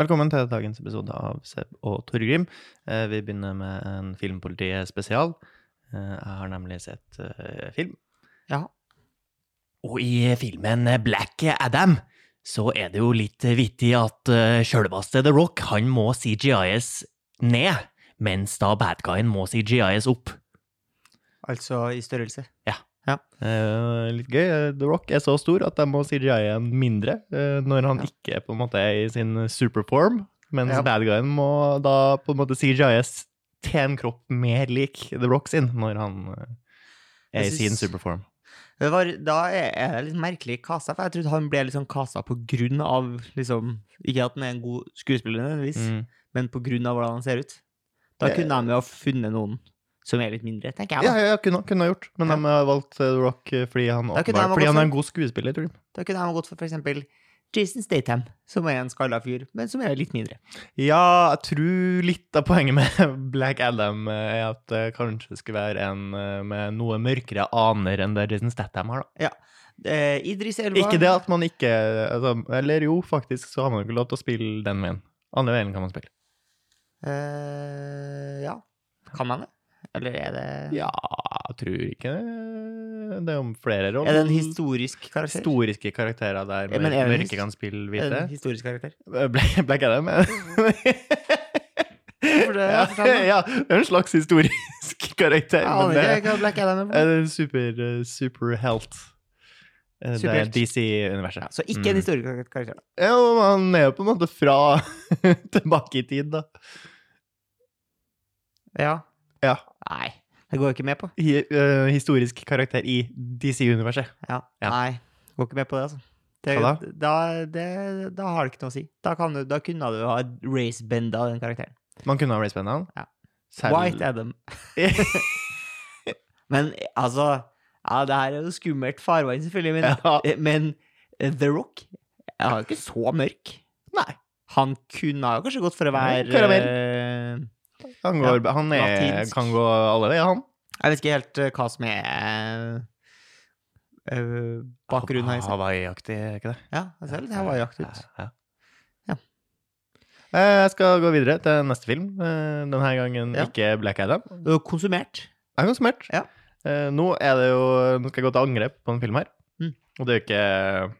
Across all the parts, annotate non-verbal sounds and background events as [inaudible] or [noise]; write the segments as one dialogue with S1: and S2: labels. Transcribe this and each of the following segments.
S1: Velkommen til dagens episode av Seb og Torgrim. Eh, Vi begynner med en Filmpolitiet spesial. Eh, Jeg har nemlig sett eh, film.
S2: Ja.
S1: Og i filmen Black Adam så er det jo litt vittig at eh, sjølveste The Rock, han må CGIS ned, mens da badguyen må CGIS opp.
S2: Altså i størrelse.
S1: Eh, litt gøy. eh, The Rock er så stor at de må CGI en mindre eh, når han
S2: Ja.
S1: ikke på en måte er i sin superform, mens
S2: Ja.
S1: bad guyen må da på en måte CGIs til en kropp mer lik The Rock sin når han eh, er
S2: Jeg
S1: i sin
S2: synes-
S1: superform.
S2: Det var, da er er det litt merkelig kasa, for jeg trodde han ble litt sånn kasa på grunn av liksom, Ikke at han er en god skuespiller, nødvendigvis,
S1: Mm.
S2: men på grunn av hvordan han ser ut. Da
S1: Det-
S2: kunne de jo ha funnet noen som er litt mindre, tenker jeg.
S1: Ja,
S2: Da,
S1: ja, ja kunne, kunne ha gjort, men
S2: Ja.
S1: de har valgt eh, The Rock eh, fordi han,
S2: Da
S1: åpenbart-
S2: kunne de ha gått
S1: fordi han
S2: for-
S1: er en god skuespiller. Tror jeg.
S2: da kunne de ha gått for f.eks. Jason Statham, som er en skalla fyr, men som er litt mindre.
S1: Ja, jeg tror litt av poenget med [laughs] Black Adam eh, er at det kanskje skulle være en eh, med noe mørkere aner enn det Jason Statham har, da.
S2: Eh, Idris Elba
S1: Ikke det at man ikke altså, Eller jo, faktisk så har man jo ikke lov til å spille den veien. Andre veien kan man spille.
S2: eh, Ja. Kan man det? Eller er det
S1: Ja, jeg tror ikke det. Det er om flere roller.
S2: Er det en historisk karakter?
S1: Historiske karakterer der
S2: Ja,
S1: mør-
S2: men er det en
S1: mørke
S2: his-
S1: kan spille
S2: Er det
S1: hvite. Eh,
S2: en historisk karakter?
S1: Black Black Adam er
S2: Hvorfor det?
S1: ja,
S2: Fortell meg.
S1: [laughs] ja, det er en slags historisk [laughs] karakter.
S2: Jeg aner
S1: Eh, men det,
S2: ikke hva Black Adam er. for noe.
S1: Er det en super, eh, superhelt? Eh, Det er
S2: Superhelt.
S1: DC-universet.
S2: Ja, så ikke en
S1: Mm.
S2: historisk kar- karakter. da.
S1: Ja, men han er jo på en måte fra [laughs] tilbake i tid, da.
S2: Ja.
S1: Ja.
S2: Nei, det går jeg ikke med på.
S1: Hi, eh, historisk karakter i DC-universet.
S2: Ja.
S1: Ja.
S2: Nei, jeg går ikke med på det, altså. Det,
S1: Hva
S2: da, det, da har det ikke noe å si. Da, kan du, da kunne du ha racebenda den karakteren.
S1: Man kunne ha Race Bendown.
S2: Ja.
S1: Selv...
S2: White
S1: [laughs]
S2: Adam. Men altså ja, Det her er jo skummelt farvann, selvfølgelig, men,
S1: Ja.
S2: eh, men eh, The Rock Jeg har jo ikke så mørk.
S1: Nei.
S2: Han kunne ha jo kanskje gått for å
S1: Nei,
S2: være eh,
S1: Han, går,
S2: Ja,
S1: han er,
S2: latinsk.
S1: kan gå alle veier, han.
S2: Jeg vet ikke helt eh, hva som er eh, eh, bakgrunnen hans.
S1: Hawaii-aktig, er ikke det?
S2: Ja, jeg ser litt Hawaii-aktig ut.
S1: Ja.
S2: Ja.
S1: Eh, Jeg skal gå videre til neste film. eh, Denne gangen
S2: Ja.
S1: ikke Black Adam.
S2: Du har konsumert.
S1: Jeg er konsumert.
S2: Ja.
S1: Eh, Nå, er det jo, nå skal jeg gå til angrep på en film her.
S2: Mm.
S1: Og det er jo ikke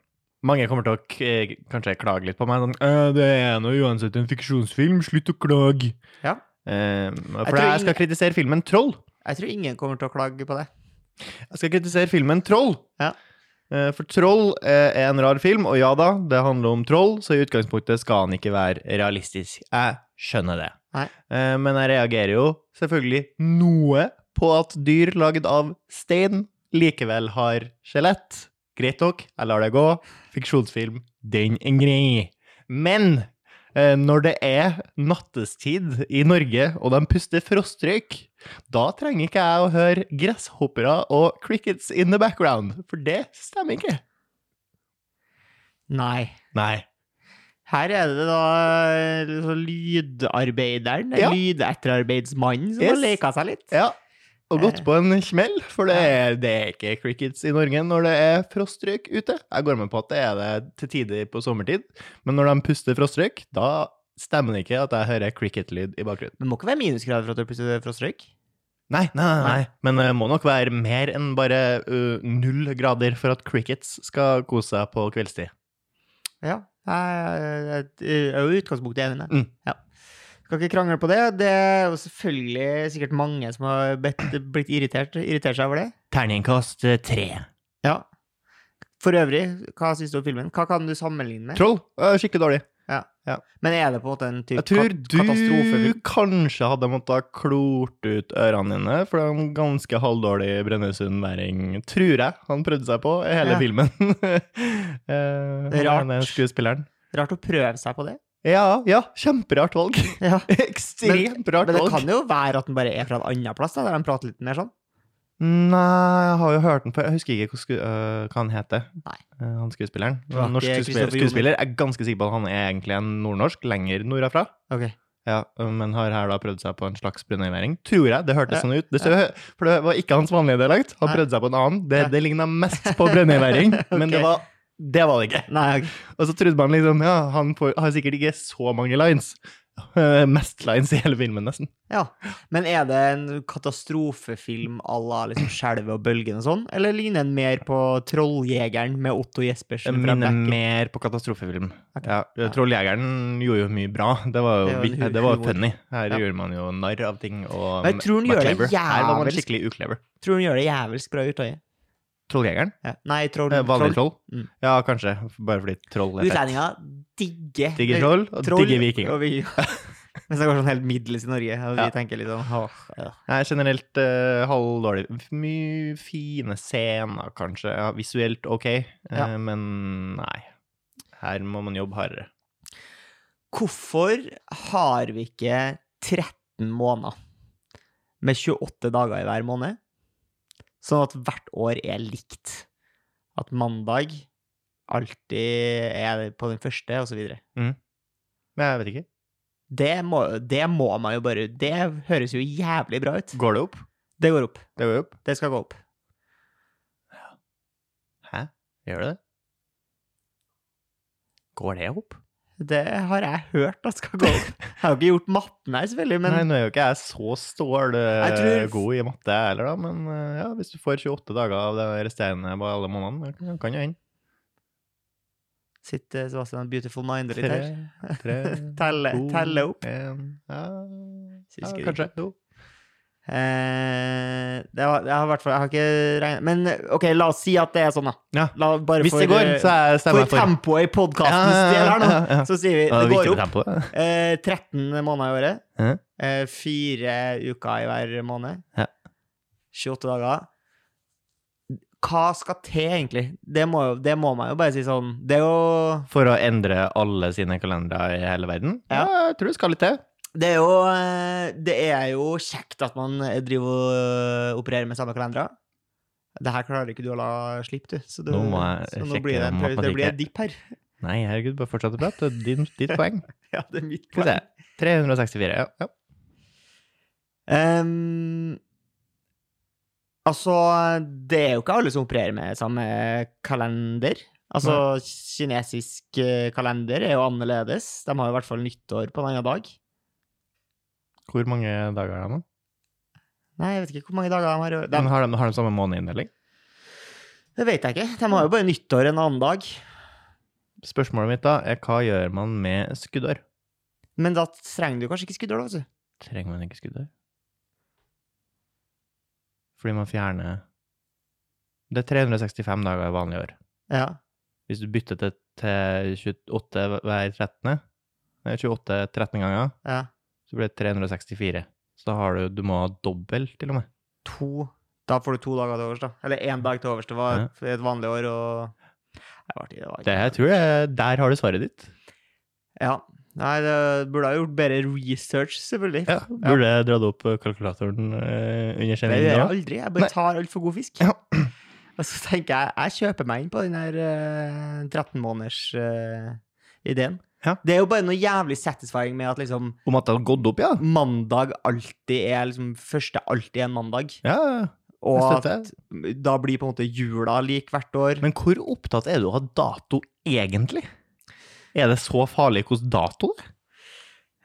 S1: Mange kommer til å k eh, kanskje klage litt på meg. Sånn, «Øh, det er nå uansett en fiksjonsfilm, slutt å klage.
S2: Ja.
S1: Eh, for
S2: tror
S1: jeg,
S2: ingen-
S1: skal kritisere filmen Troll.
S2: Jeg tror ingen kommer til å klage på det.
S1: Jeg skal kritisere filmen Troll.
S2: Ja.
S1: Eh, For Troll eh, er en rar film, og ja da, det handler om troll, så i utgangspunktet skal han ikke være realistisk. Jeg skjønner det.
S2: Nei.
S1: Eh, Men jeg reagerer jo selvfølgelig noe på at dyr lagd av stein likevel har skjelett. Greit nok, jeg lar det gå. Fiksjonsfilm, den en grei. Men eh, når det er nattestid i Norge, og de puster frostrøyk, da trenger ikke jeg å høre gresshoppere og crickets in the background, for det stemmer ikke.
S2: Nei.
S1: Nei.
S2: Her er det da liksom lydarbeideren,
S1: Ja.
S2: lydetterarbeidsmannen, som
S1: Yes.
S2: har leka seg litt.
S1: Ja, og gått på en smell, for det er, det er ikke crickets i Norge når det er frostrøyk ute. Jeg går med på at det er det til tider på sommertid, men når de puster frostrøyk, da stemmer det ikke at jeg hører cricketlyd i bakgrunnen.
S2: Det må ikke være minusgrader for at du plutselig får frostrøyk.
S1: Nei, nei, nei, nei. men det må nok være mer enn bare ø, null grader for at crickets skal kose seg på kveldstid.
S2: Ja. Jeg jeg- jeg er jo i utgangspunktet enig med deg.
S1: Mm.
S2: Ja. Skal ikke krangle på det. Det er jo selvfølgelig sikkert mange som har bedt, blitt irritert, irritert seg over det.
S1: Terningkast eh, tre.
S2: Ja. For øvrig, hva syns du om filmen? Hva kan du sammenligne med?
S1: Troll, ø, skikkelig dårlig.
S2: Men er det på en måte en type
S1: Jeg tror
S2: kat-
S1: du
S2: katastrofefilm?
S1: kanskje hadde måttet ha klort ut ørene dine, for det er en ganske halvdårlig Brønnøysundværing, tror jeg han prøvde seg på i hele
S2: Ja.
S1: filmen. [laughs] Eh,
S2: Det er rart.
S1: han ene skuespilleren.
S2: Rart å prøve seg på det.
S1: Ja, ja, kjemperart valg.
S2: Ja.
S1: [laughs] Ekstremt rart
S2: Men det
S1: valg.
S2: kan jo være at den bare er fra en annen plass, da, der de prater litt mer sånn.
S1: Nei, jeg har jo hørt den før. Jeg husker ikke hva, sku, øh, hva han heter.
S2: Nei.
S1: Øh, han skuespilleren.
S2: Det var ikke
S1: Norsk skuespiller,
S2: Christopher Joner.
S1: skuespiller. Jeg er ganske sikker på at han er egentlig en nordnorsk, lenger nordafra.
S2: Ok.
S1: Ja, øh, men har her da prøvd seg på en slags brønnøyværing. Tror jeg. Det hørtes
S2: Ja,
S1: sånn ut. Det, så, For det var ikke hans vanlige dialekt. Han
S2: Nei.
S1: prøvde seg på en annen. Det, [laughs]
S2: Nei.
S1: det ligna mest på brønnøyværing, men det
S2: Ok.
S1: var Det var det ikke.
S2: Nei, ok.
S1: Og så trodde man liksom ja, han får- har sikkert ikke så mange lines. [laughs] Eh, Mest lines i hele filmen, nesten.
S2: Ja. Men er det en katastrofefilm à la liksom Skjelvet og bølgen og sånn, eller ligner den mer på Trolljegeren med Otto
S1: Jeg
S2: Jespersen fra
S1: minner
S2: Beck?
S1: mer på katastrofefilm.
S2: Ok.
S1: Ja, Trolljegeren gjorde jo mye bra. Det var
S2: Det
S1: jo
S2: var
S1: vit-
S2: hu-
S1: det var
S2: humor.
S1: funny. Her
S2: Ja.
S1: gjorde man jo narr av ting. Og
S2: Men jeg tror den
S1: var
S2: gjør det
S1: clever. Her var man
S2: jævlig-
S1: skikkelig uklever.
S2: Tror hun gjør det jævelsk bra i Utøya.
S1: Trolljegeren?
S2: Ja. Nei, troll.
S1: Eh, Vanlig
S2: troll.
S1: troll?
S2: Mm.
S1: Ja, kanskje. Bare fordi troll er fett.
S2: Utlendinger digger
S1: sånn- Digger troll, og digger vikinger.
S2: og vi- [laughs] Mens det går sånn helt middels i Norge, og vi
S1: Ja.
S2: tenker litt sånn «Åh, ja.
S1: Nei, generelt eh, halvdårlig. Mye fine scener, kanskje. Ja, visuelt ok, eh,
S2: Ja.
S1: men nei. Her må man jobbe hardere.
S2: Hvorfor har vi ikke 13 måneder med 28 dager i hver måned? Sånn at hvert år er likt. At mandag alltid er på den første, og så videre.
S1: Men jeg vet ikke.
S2: Det må, det må man jo bare Det høres jo jævlig bra ut.
S1: Går det opp?
S2: Det går opp.
S1: Det går jo opp.
S2: Det skal gå opp.
S1: Hæ? Gjør det det? Går det opp?
S2: Det har jeg hørt at skal gå
S1: [laughs]
S2: opp. Jeg har jo ikke gjort matten her, selvfølgelig, men
S1: nei, nå er jo ikke jeg så stål eh,
S2: Jeg tror-
S1: god i matte jeg heller, da, men eh, ja, hvis du får 28 dager av det resterende på alle månedene, det kan jo hende.
S2: sitter Sebastian beautiful mind litt
S1: Tre,
S2: her.
S1: tre,
S2: Telle,
S1: to,
S2: telle opp.
S1: En, ja, ja,
S2: Husker
S1: kanskje. To.
S2: Eh, det har, jeg har i hvert fall Jeg har ikke regnet Men OK, la oss si at det er sånn, da.
S1: Ja.
S2: La, bare
S1: Hvis det går, så er jeg
S2: for
S1: stemmer for.
S2: tempoet i podkastens del her nå,
S1: ja, ja.
S2: så sier vi
S1: Ja,
S2: det går
S1: viktig
S2: opp.
S1: med tempo, det.
S2: Eh, 13 måneder i året.
S1: Ja.
S2: Eh, fire uker i hver måned.
S1: Ja.
S2: 28 dager. Hva skal til, egentlig? Det må, jo- det må man jo bare si sånn Det er jo
S1: For å endre alle sine kalendere i hele verden? Ja,
S2: Ja.
S1: jeg tror det skal litt til.
S2: Det er jo, eh, det er jo kjekt at man driver og eh, opererer med samme kalendere. Det her klarer ikke du å la slippe, du. Så, du,
S1: Nå må jeg
S2: så nå
S1: sjekke
S2: blir det, en prøv- det
S1: matematikken.
S2: blir et dipp her. [laughs]
S1: Nei, herregud, bare fortsett å prate. Det er Din, ditt poeng.
S2: Ja, det er mitt
S1: Skal vi se. 364, ja. ja.
S2: Ehm, altså, det er jo ikke alle som opererer med samme kalender. Altså, kinesisk eh, kalender er jo annerledes. De har jo i hvert fall nyttår på en annen dag.
S1: Hvor mange dager har de?
S2: Nei, jeg vet ikke hvor mange dager de har. i år.
S1: De,
S2: De,
S1: har, de, har de samme månedinndeling?
S2: det vet jeg ikke. De har jo bare nyttår en annen dag.
S1: Spørsmålet mitt da er hva gjør man med skuddår?
S2: Men da trenger du kanskje ikke skuddår, da, vet du.
S1: Trenger man ikke skuddår? Fordi man fjerner Det er 365 dager i vanlig år.
S2: Ja.
S1: Hvis du bytter til, til 28 hver 13. Nei, 28 13 ganger,
S2: Ja.
S1: så blir det 364. Så da har du Du må ha dobbelt, til og med.
S2: To. Da får du to dager til overs, da. Eller én dag til overs. Det var et- et vanlig år, og Nei, Det var det var
S1: Det her tror jeg Der har du svaret ditt.
S2: Ja. Nei, det burde ha gjort bedre research, selvfølgelig.
S1: Ja, Burde jeg dratt opp kalkulatoren eh, under
S2: Det gjør
S1: sendingen?
S2: jeg
S1: nå?
S2: aldri. Jeg
S1: Nei.
S2: bare tar altfor god fisk.
S1: Ja.
S2: Og så tenker jeg jeg kjøper meg inn på den her eh, 13 måneders eh, ideen.
S1: Ja.
S2: Det er jo bare noe jævlig satisfying med at liksom
S1: Om at det har gått opp, ja?
S2: mandag alltid er liksom Første alltid er en mandag.
S1: Ja, jeg
S2: Og
S1: støtter.
S2: at da blir på en måte jula lik hvert år.
S1: Men hvor opptatt er du av dato, egentlig? Er det så farlig hvordan dato det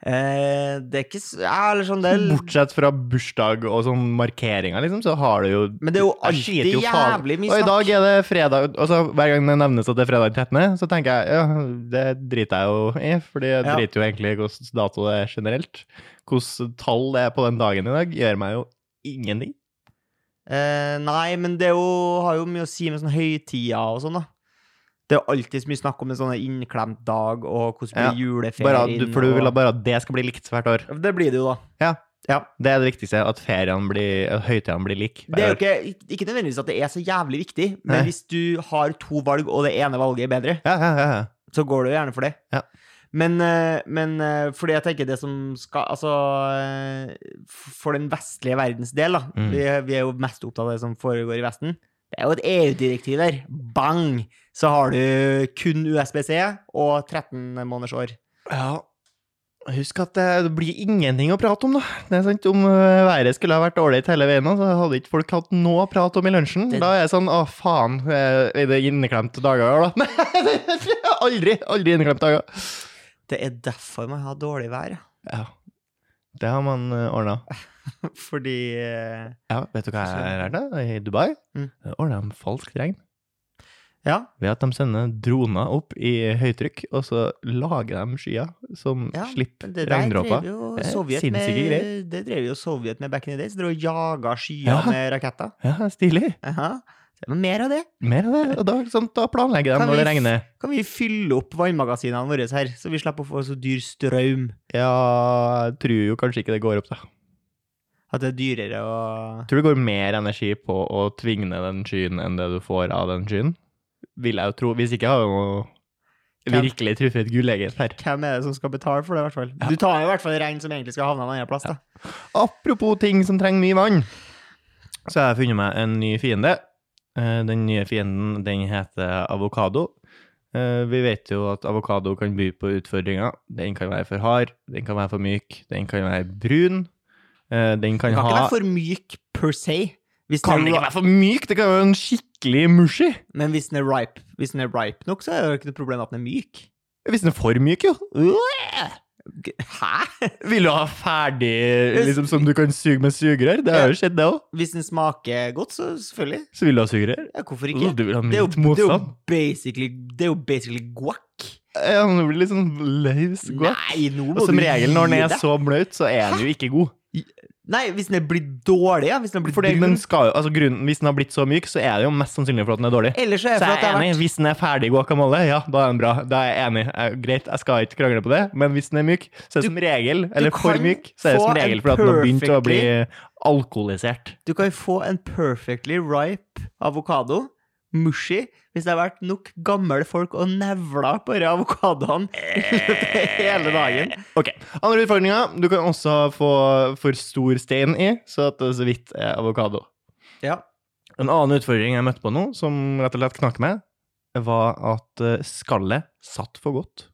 S1: er?
S2: Eh, det er ikke s- Ja, eller sånn del
S1: Bortsett fra bursdag og sånn markeringer, liksom, så har du jo
S2: Men det er jo
S1: Jeg skiter
S2: alltid
S1: jo faen-
S2: jævlig mye
S1: Og i
S2: snakk.
S1: dag er det fredag, og så hver gang det nevnes at det er fredag den 13., så tenker jeg ja, det driter jeg jo i, fordi jeg
S2: Ja.
S1: driter jo egentlig i hvordan dato det er generelt. Hvordan tall det er på den dagen i dag, gjør meg jo ingenting.
S2: Eh, nei, men det er jo, har jo mye å si med sånne høytider og sånn, da. Det er jo alltid så mye snakk om en sånn innklemt dag, og hvordan blir
S1: Ja, Bare, at
S2: juleferien
S1: du, for du vil ha
S2: og-
S1: bare at det skal bli likt hvert år.
S2: Det blir det jo, da.
S1: Det er det viktigste, at feriene blir, at høytidene blir like.
S2: Det er jo
S1: hvert år.
S2: ikke, ik- ikke nødvendigvis at det er så jævlig viktig, men
S1: Nei.
S2: hvis du har to valg, og det ene valget er bedre,
S1: Ja, ja, ja, ja.
S2: så går det jo gjerne for det.
S1: Ja.
S2: Men, eh, men eh, fordi jeg tenker det som skal Altså, eh, f- for den vestlige verdens del, da.
S1: Mm.
S2: Vi, er- vi er jo mest opptatt av det som foregår i Vesten. Det er jo et EU-direktiv der. Bang! Så har du kun USBC og 13 måneders år.
S1: Ja. Husk at det blir ingenting å prate om, da. Det er sant, Om eh, været skulle ha vært dårlig hele veien, så hadde ikke folk hatt noe å prate om i lunsjen.
S2: Det-
S1: Da er det sånn Å, faen. eh, Er det inneklemte dager, da? Nei, [laughs] aldri! Aldri inneklemte dager.
S2: Det er derfor man har dårlig vær, ja. [laughs]
S1: Ja. Det har man ordna.
S2: Fordi eh,
S1: Ja, vet du hva jeg lærte i Dubai?
S2: Mm.
S1: Ordna de falskt regn.
S2: Ja,
S1: Ved at de sender droner opp i høytrykk, og så lager de skyer som
S2: Ja,
S1: slipper
S2: men det der
S1: regndråper.
S2: drev jo
S1: Det er
S2: Sovjet
S1: sinnssyke
S2: med,
S1: greier.
S2: det drev jo Sovjet med back in the days. Drev og jaga skyer
S1: Ja.
S2: med raketter.
S1: Ja, stilig.
S2: Aha. Det er Mer av det.
S1: Mer av det. Og da, sånn, da planlegger de
S2: Kan
S1: når det
S2: vi f-
S1: regner.
S2: Kan vi fylle opp vannmagasinene våre her, så vi slipper å få så dyr strøm
S1: Ja, jeg tror jo kanskje ikke det går opp, da.
S2: at det er dyrere å
S1: Jeg tror det går mer energi på å tvinge ned den skyen enn det du får av den skyen. Vil jeg jo tro. Hvis ikke har vi jo
S2: Hvem-
S1: virkelig truffet et gullegget her.
S2: Hvem er det som skal betale for det, i hvert fall? Du tar jo i hvert fall regn som egentlig skal havne en annen plass, da.
S1: Apropos ting som trenger mye vann, så har jeg funnet meg en ny fiende. Eh, Den nye fienden den heter avokado. Eh, Vi vet jo at avokado kan by på utfordringer. Den kan være for hard, den kan være for myk, den kan være brun. Eh, Den kan,
S2: Den kan ikke
S1: ha
S2: være for myk per se. Hvis
S1: Kan
S2: den
S1: den
S2: er
S1: ikke være for myk? Det kan være en skikkelig mushy.
S2: Men hvis den er ripe, hvis den er ripe nok, så er det jo ikke noe problem at den er myk.
S1: Hvis den er for myk, jo.
S2: G- Hæ?
S1: Vil du ha ferdig liksom, som du kan suge med sugerør? Det har jo skjedd, det òg.
S2: Hvis den smaker godt, så selvfølgelig.
S1: Så vil du ha sugerør?
S2: Ja, hvorfor
S1: Ikke.
S2: ikke?
S1: Du vil ha
S2: Det er jo,
S1: mitt
S2: det er jo
S1: motstand?
S2: basically Det er jo basically guac.
S1: Ja, men det blir litt sånn løs guac.
S2: Nei, nå må
S1: Og som
S2: du
S1: regel når den
S2: gi
S1: er
S2: deg.
S1: så bløt, så er den jo ikke god.
S2: Nei, hvis den er blitt dårlig, ja. Hvis den er blitt
S1: Fordi
S2: brun.
S1: den skal, jo- altså grunnen, Hvis den har blitt så myk, så er det jo mest sannsynlig for at den er dårlig.
S2: Ellers så
S1: Så
S2: er det for
S1: jeg
S2: at det
S1: er
S2: har
S1: enig.
S2: vært
S1: Hvis den er ferdig guacamole, ja, da er den bra. Da er jeg enig. Jeg, greit, jeg skal ikke krangle på det, men hvis den er myk, så er det
S2: Du-
S1: som regel Eller
S2: du
S1: for
S2: kan
S1: myk, så er det
S2: få
S1: som
S2: en
S1: regel fordi at den har begynt å bli
S2: perfectly-
S1: alkoholisert.
S2: Du kan få en perfectly ripe avokado, mushy, hvis det har vært nok gamle folk og nevla på disse avokadoene [laughs] i løpet av [laughs] hele dagen.
S1: Ok, Andre utfordringer. Du kan også få for stor stein i, så at det så vidt er avokado.
S2: Ja.
S1: En annen utfordring jeg møtte på nå, som rett og slett knakk meg, var at eh, skallet satt for godt.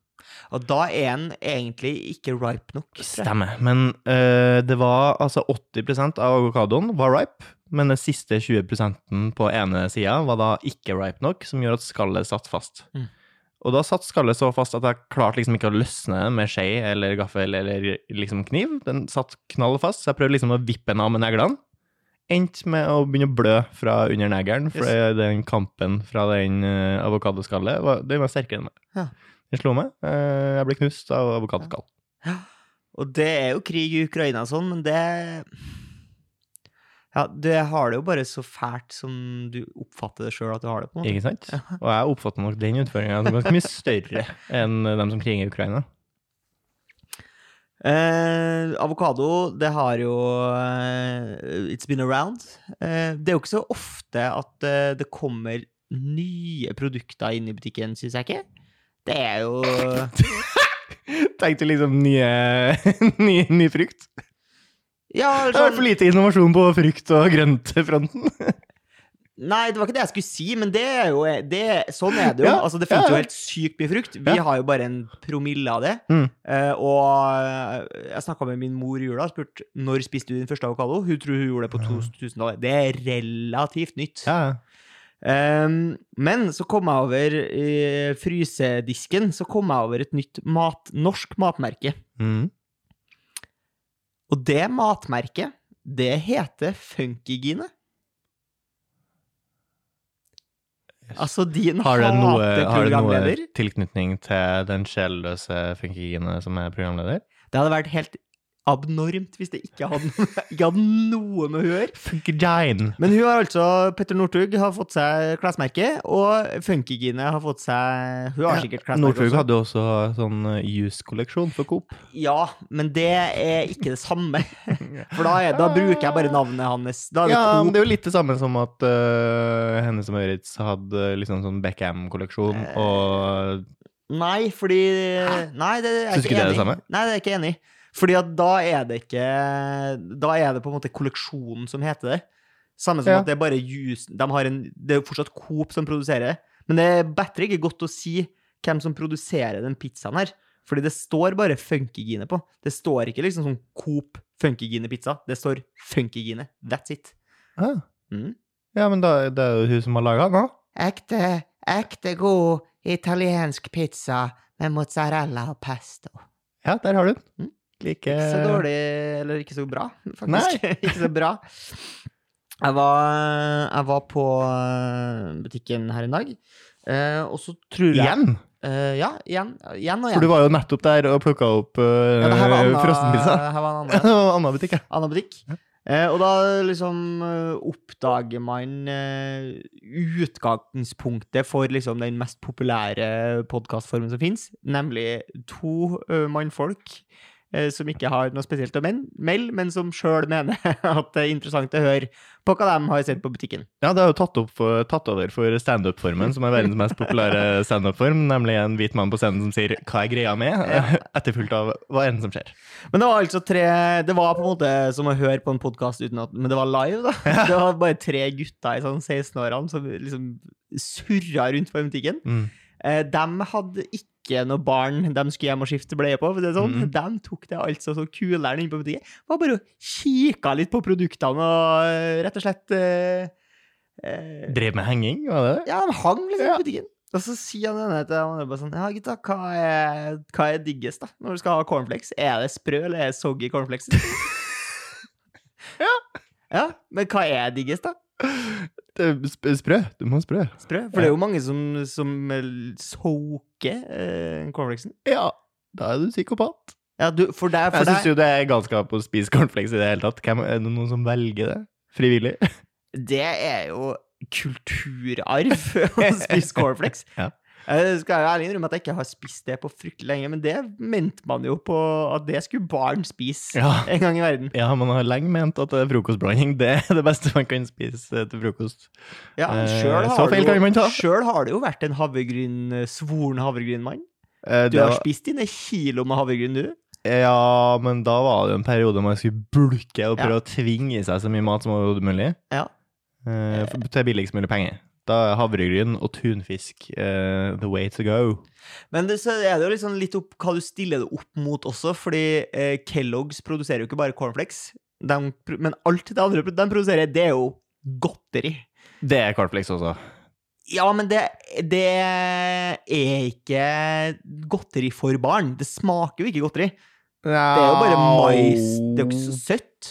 S2: Og da er den egentlig ikke ripe nok. tror jeg.
S1: Stemmer. Men eh, det var altså 80 av avokadoen var ripe, men den siste 20 på ene sida var da ikke ripe nok, som gjorde at skallet satt fast.
S2: Mm.
S1: Og da satt skallet så fast at jeg klarte liksom ikke å løsne den med skje eller gaffel eller liksom kniv. Den satt knall fast, så jeg prøvde liksom å vippe den av med neglene. Endte med å begynne å blø fra under neglen, for den kampen fra den eh, avokadoskallet var, den var sterkere enn meg.
S2: Ja.
S1: Den slo meg. Eh, Jeg ble knust av avokadoskall.
S2: Og det er jo krig i Ukraina og sånn, men det Ja, det har det jo bare så fælt som du oppfatter det sjøl at du har det, på en måte.
S1: Ikke sant? Og jeg oppfatter nok den utfordringa som ganske mye [laughs] større enn dem som kriger i Ukraina.
S2: Eh, avokado, det har jo eh, It's been around. Eh, det er jo ikke så ofte at eh, det kommer nye produkter inn i butikken, syns jeg ikke. Det er jo
S1: Tenkte liksom nye, [laughs] ny, ny frukt. [laughs]
S2: Ja,
S1: Det har vært
S2: sånn
S1: for lite innovasjon på frukt- og grøntfronten.
S2: Nei, det var ikke det jeg skulle si, men det er jo det, Sånn er det jo.
S1: Ja,
S2: altså, det finnes
S1: ja, ja.
S2: jo helt sykt mye frukt. Vi
S1: Ja.
S2: har jo bare en promille av det.
S1: Mm.
S2: Eh, og jeg snakka med min mor i jula og spurte når spiste du din første avokado. Hun tror hun gjorde det på 2000-tallet. Det er relativt nytt.
S1: Ja.
S2: Ehm, men så kom jeg over i frysedisken Så kom jeg over et nytt mat, norsk matmerke.
S1: Mm.
S2: Og det matmerket, det heter Funkygine. Altså din
S1: Har det noe, har det noe
S2: hateprogramleder.
S1: tilknytning til den sjelløse funkygine som er programleder?
S2: Det hadde vært helt abnormt hvis det ikke hadde, [laughs] ikke hadde noe med hun å gjøre.
S1: Funkygine.
S2: Men hun har altså, Petter Northug har fått seg klesmerke, og Funkygine har fått seg Hun
S1: Ja,
S2: har sikkert klesmerke
S1: Northug
S2: også.
S1: hadde jo også sånn eh, juice-kolleksjon for Coop.
S2: Ja, men det er ikke det samme. For da, er, da bruker jeg bare navnet hans. Da er det
S1: Ja, men
S2: Coop.
S1: det er jo litt det samme som at uh, Hennes og Maurits hadde liksom sånn Beckham-kolleksjon, og
S2: Nei, fordi Nei, det er
S1: Syns
S2: jeg
S1: ikke det er
S2: ikke
S1: det
S2: enig i.
S1: samme?
S2: Nei, det er jeg ikke enig i. Fordi at da er det ikke Da er det på en måte kolleksjonen som heter det. Samme som
S1: Ja.
S2: at det er bare juice De har en Det er jo fortsatt Coop som produserer det. Men det er bedre ikke godt å si hvem som produserer den pizzaen her. Fordi det står bare funkygine på. Det står ikke liksom sånn Coop funkygine pizza. Det står funkygine. That's it.
S1: Ah.
S2: Mm.
S1: Ja, men da, det er jo hun som har laga den, da.
S2: Ekte, ekte god italiensk pizza med mozzarella og pesto.
S1: Ja, der har du den.
S2: Mm.
S1: Like
S2: Ikke så dårlig, eller ikke så bra, faktisk.
S1: Eh. Nei.
S2: [laughs] ikke så bra. Jeg var, jeg var på eh, butikken her en dag, eh, og så tror jeg
S1: Igjen!
S2: Eh, ja, igjen, igjen og igjen.
S1: For du var jo nettopp der og plukka opp uh,
S2: ja, det her var Anna-
S1: frossenpizza. [laughs]
S2: Her var en
S1: Det
S2: annen,
S1: var Anna butikk, ja.
S2: annen butikk. Eh, og da liksom eh, oppdager man eh, utgangspunktet for liksom den mest populære podkastformen som fins, nemlig to eh, mannfolk eh, som ikke har noe spesielt å men melde, men som sjøl mener [laughs] at det er interessant å høre på hva de har sett på butikken.
S1: Ja, det er jo tatt, opp for, tatt over for standup-formen, som er verdens mest populære standup-form, nemlig en hvit mann på scenen som sier 'hva er greia med?', [laughs] etterfulgt av 'hva er det som skjer'?
S2: Men det var altså tre Det var på en måte som å høre på en podkast uten at Men det var live, da. Det var bare tre gutter i sånn 16-årene som liksom surra rundt på butikken.
S1: Mm.
S2: Eh, de hadde ikke noe barn de skulle hjem og skifte bleie på. For det er sånn.
S1: Mhm.
S2: De tok det altså så kuleren inne på butikken. Var bare og kikka litt på produktene og eh, rett og slett eh, eh,
S1: Drev med henging, var
S2: [laughs]
S1: det det?
S2: ja, de hang liksom
S1: Ja.
S2: i butikken. Og så sier han ene til han andre bare sånn Ja, gutta, hva er, hva er diggest da, når du skal ha cornflakes? Er det sprø, eller er det soggy
S1: [laughs]
S2: cornflakes? ja. ja. Men hva er diggest, da?
S1: det er sp- sprø. Du må ha sprø.
S2: Sprø? For det er jo mange som, som eh, soaker eh, cornflakesen.
S1: Ja, da er du psykopat.
S2: Ja, du, for deg, for
S1: Jeg syns
S2: deg
S1: jo det er galskap å spise cornflakes i det hele tatt. Hvem, er det noen som velger det? Frivillig?
S2: Det er jo kulturarv [laughs] å spise cornflakes.
S1: [laughs] Ja.
S2: Jeg skal jo ærlig innrømme at jeg ikke har spist det på fryktelig lenge, men det mente man jo på at det skulle barn spise
S1: [laughs] Ja.
S2: en gang i verden.
S1: ja, man har lenge ment at eh, frokostblanding det er det beste man kan spise eh, til frokost.
S2: Ja,
S1: Eh,
S2: selv
S1: så
S2: har
S1: feil
S2: du jo-
S1: kan man ta.
S2: Selv har det jo vært en havregryn, eh, svoren havregrynmann.
S1: Eh,
S2: Du
S1: det
S2: har
S1: var-
S2: spist dine kilo med havregryn, du.
S1: ja, men da var det jo en periode man skulle bulke og
S2: Ja.
S1: prøve å tvinge i seg så mye mat som overhodet mulig.
S2: Ja.
S1: Eh, for- til billigst mulig penger. Da er havregryn og tunfisk eh, the way to go.
S2: Men det, så er det jo liksom litt opp hva du stiller det opp mot også, fordi eh, Kellogg's produserer jo ikke bare cornflakes, de, pro- men alt det andre de produserer, det er jo godteri.
S1: Det er cornflakes også.
S2: Ja, men det, det er ikke godteri for barn. Det smaker jo ikke godteri. Det er jo bare mais. Det er jo ikke så søtt.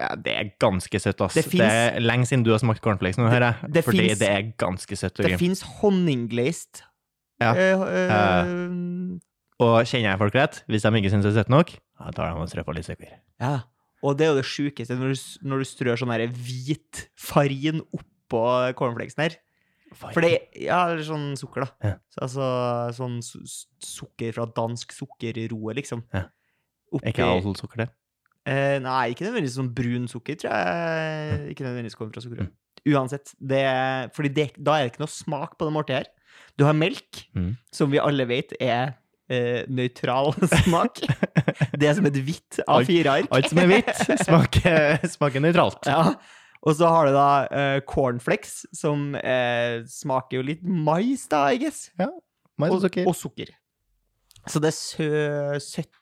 S1: Ja, det er ganske søtt, ass.
S2: Det
S1: Det,
S2: finnes-
S1: er lenge siden du har smakt cornflakes nå, hører jeg.
S2: det
S1: Fordi
S2: finnes-
S1: det er ganske søtt og
S2: Det
S1: grimt.
S2: fins honningglazed
S1: Ja.
S2: eh,
S1: Ja.
S2: eh,
S1: Og kjenner jeg folk rett, hvis de ikke syns det er søtt nok, da tar de og strør på litt sukker.
S2: Ja, og det er jo det sjukeste når, du s- når du strør sånn her hvit farin oppå cornflakesen her. For det ja, eller sånn sukker, da.
S1: Ja.
S2: Så, altså sånn su s- sukker fra dansk sukkerroe, liksom.
S1: Ja.
S2: Oppi,
S1: Ikke all sukker, det.
S2: eh, Nei, ikke nødvendigvis sånn brun sukker, tror
S1: Mm.
S2: jeg. Ikke nødvendigvis kommer fra sukkerroe. Uansett. Det, fordi det, da er det ikke noe smak på det måltidet her. Du har melk,
S1: Mm.
S2: som vi alle vet er eh, nøytral [laughs] smak. det er som et hvitt A4-ark.
S1: Alt som er [laughs] hvitt, smaker, smaker nøytralt.
S2: Ja. Og så har du da eh, cornflakes, som eh, smaker jo litt mais, da, I guess.
S1: Mais og
S2: Og,
S1: sukker.
S2: og sukker. Så det er sø, søt,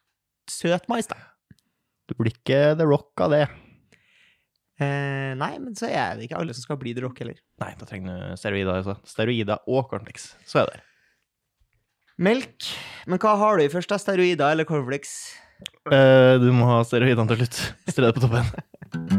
S2: søt mais, da.
S1: Du blir ikke the rock av det.
S2: Eh, nei, men så er det ikke alle som skal bli The Rock heller.
S1: Nei, da trenger du steroider, altså. Steroider og cornflakes. Så er det.
S2: Melk. Men hva har du i først, da? Steroider eller cornflakes?
S1: Eh, du må ha steroidene til slutt. Strø det på toppen.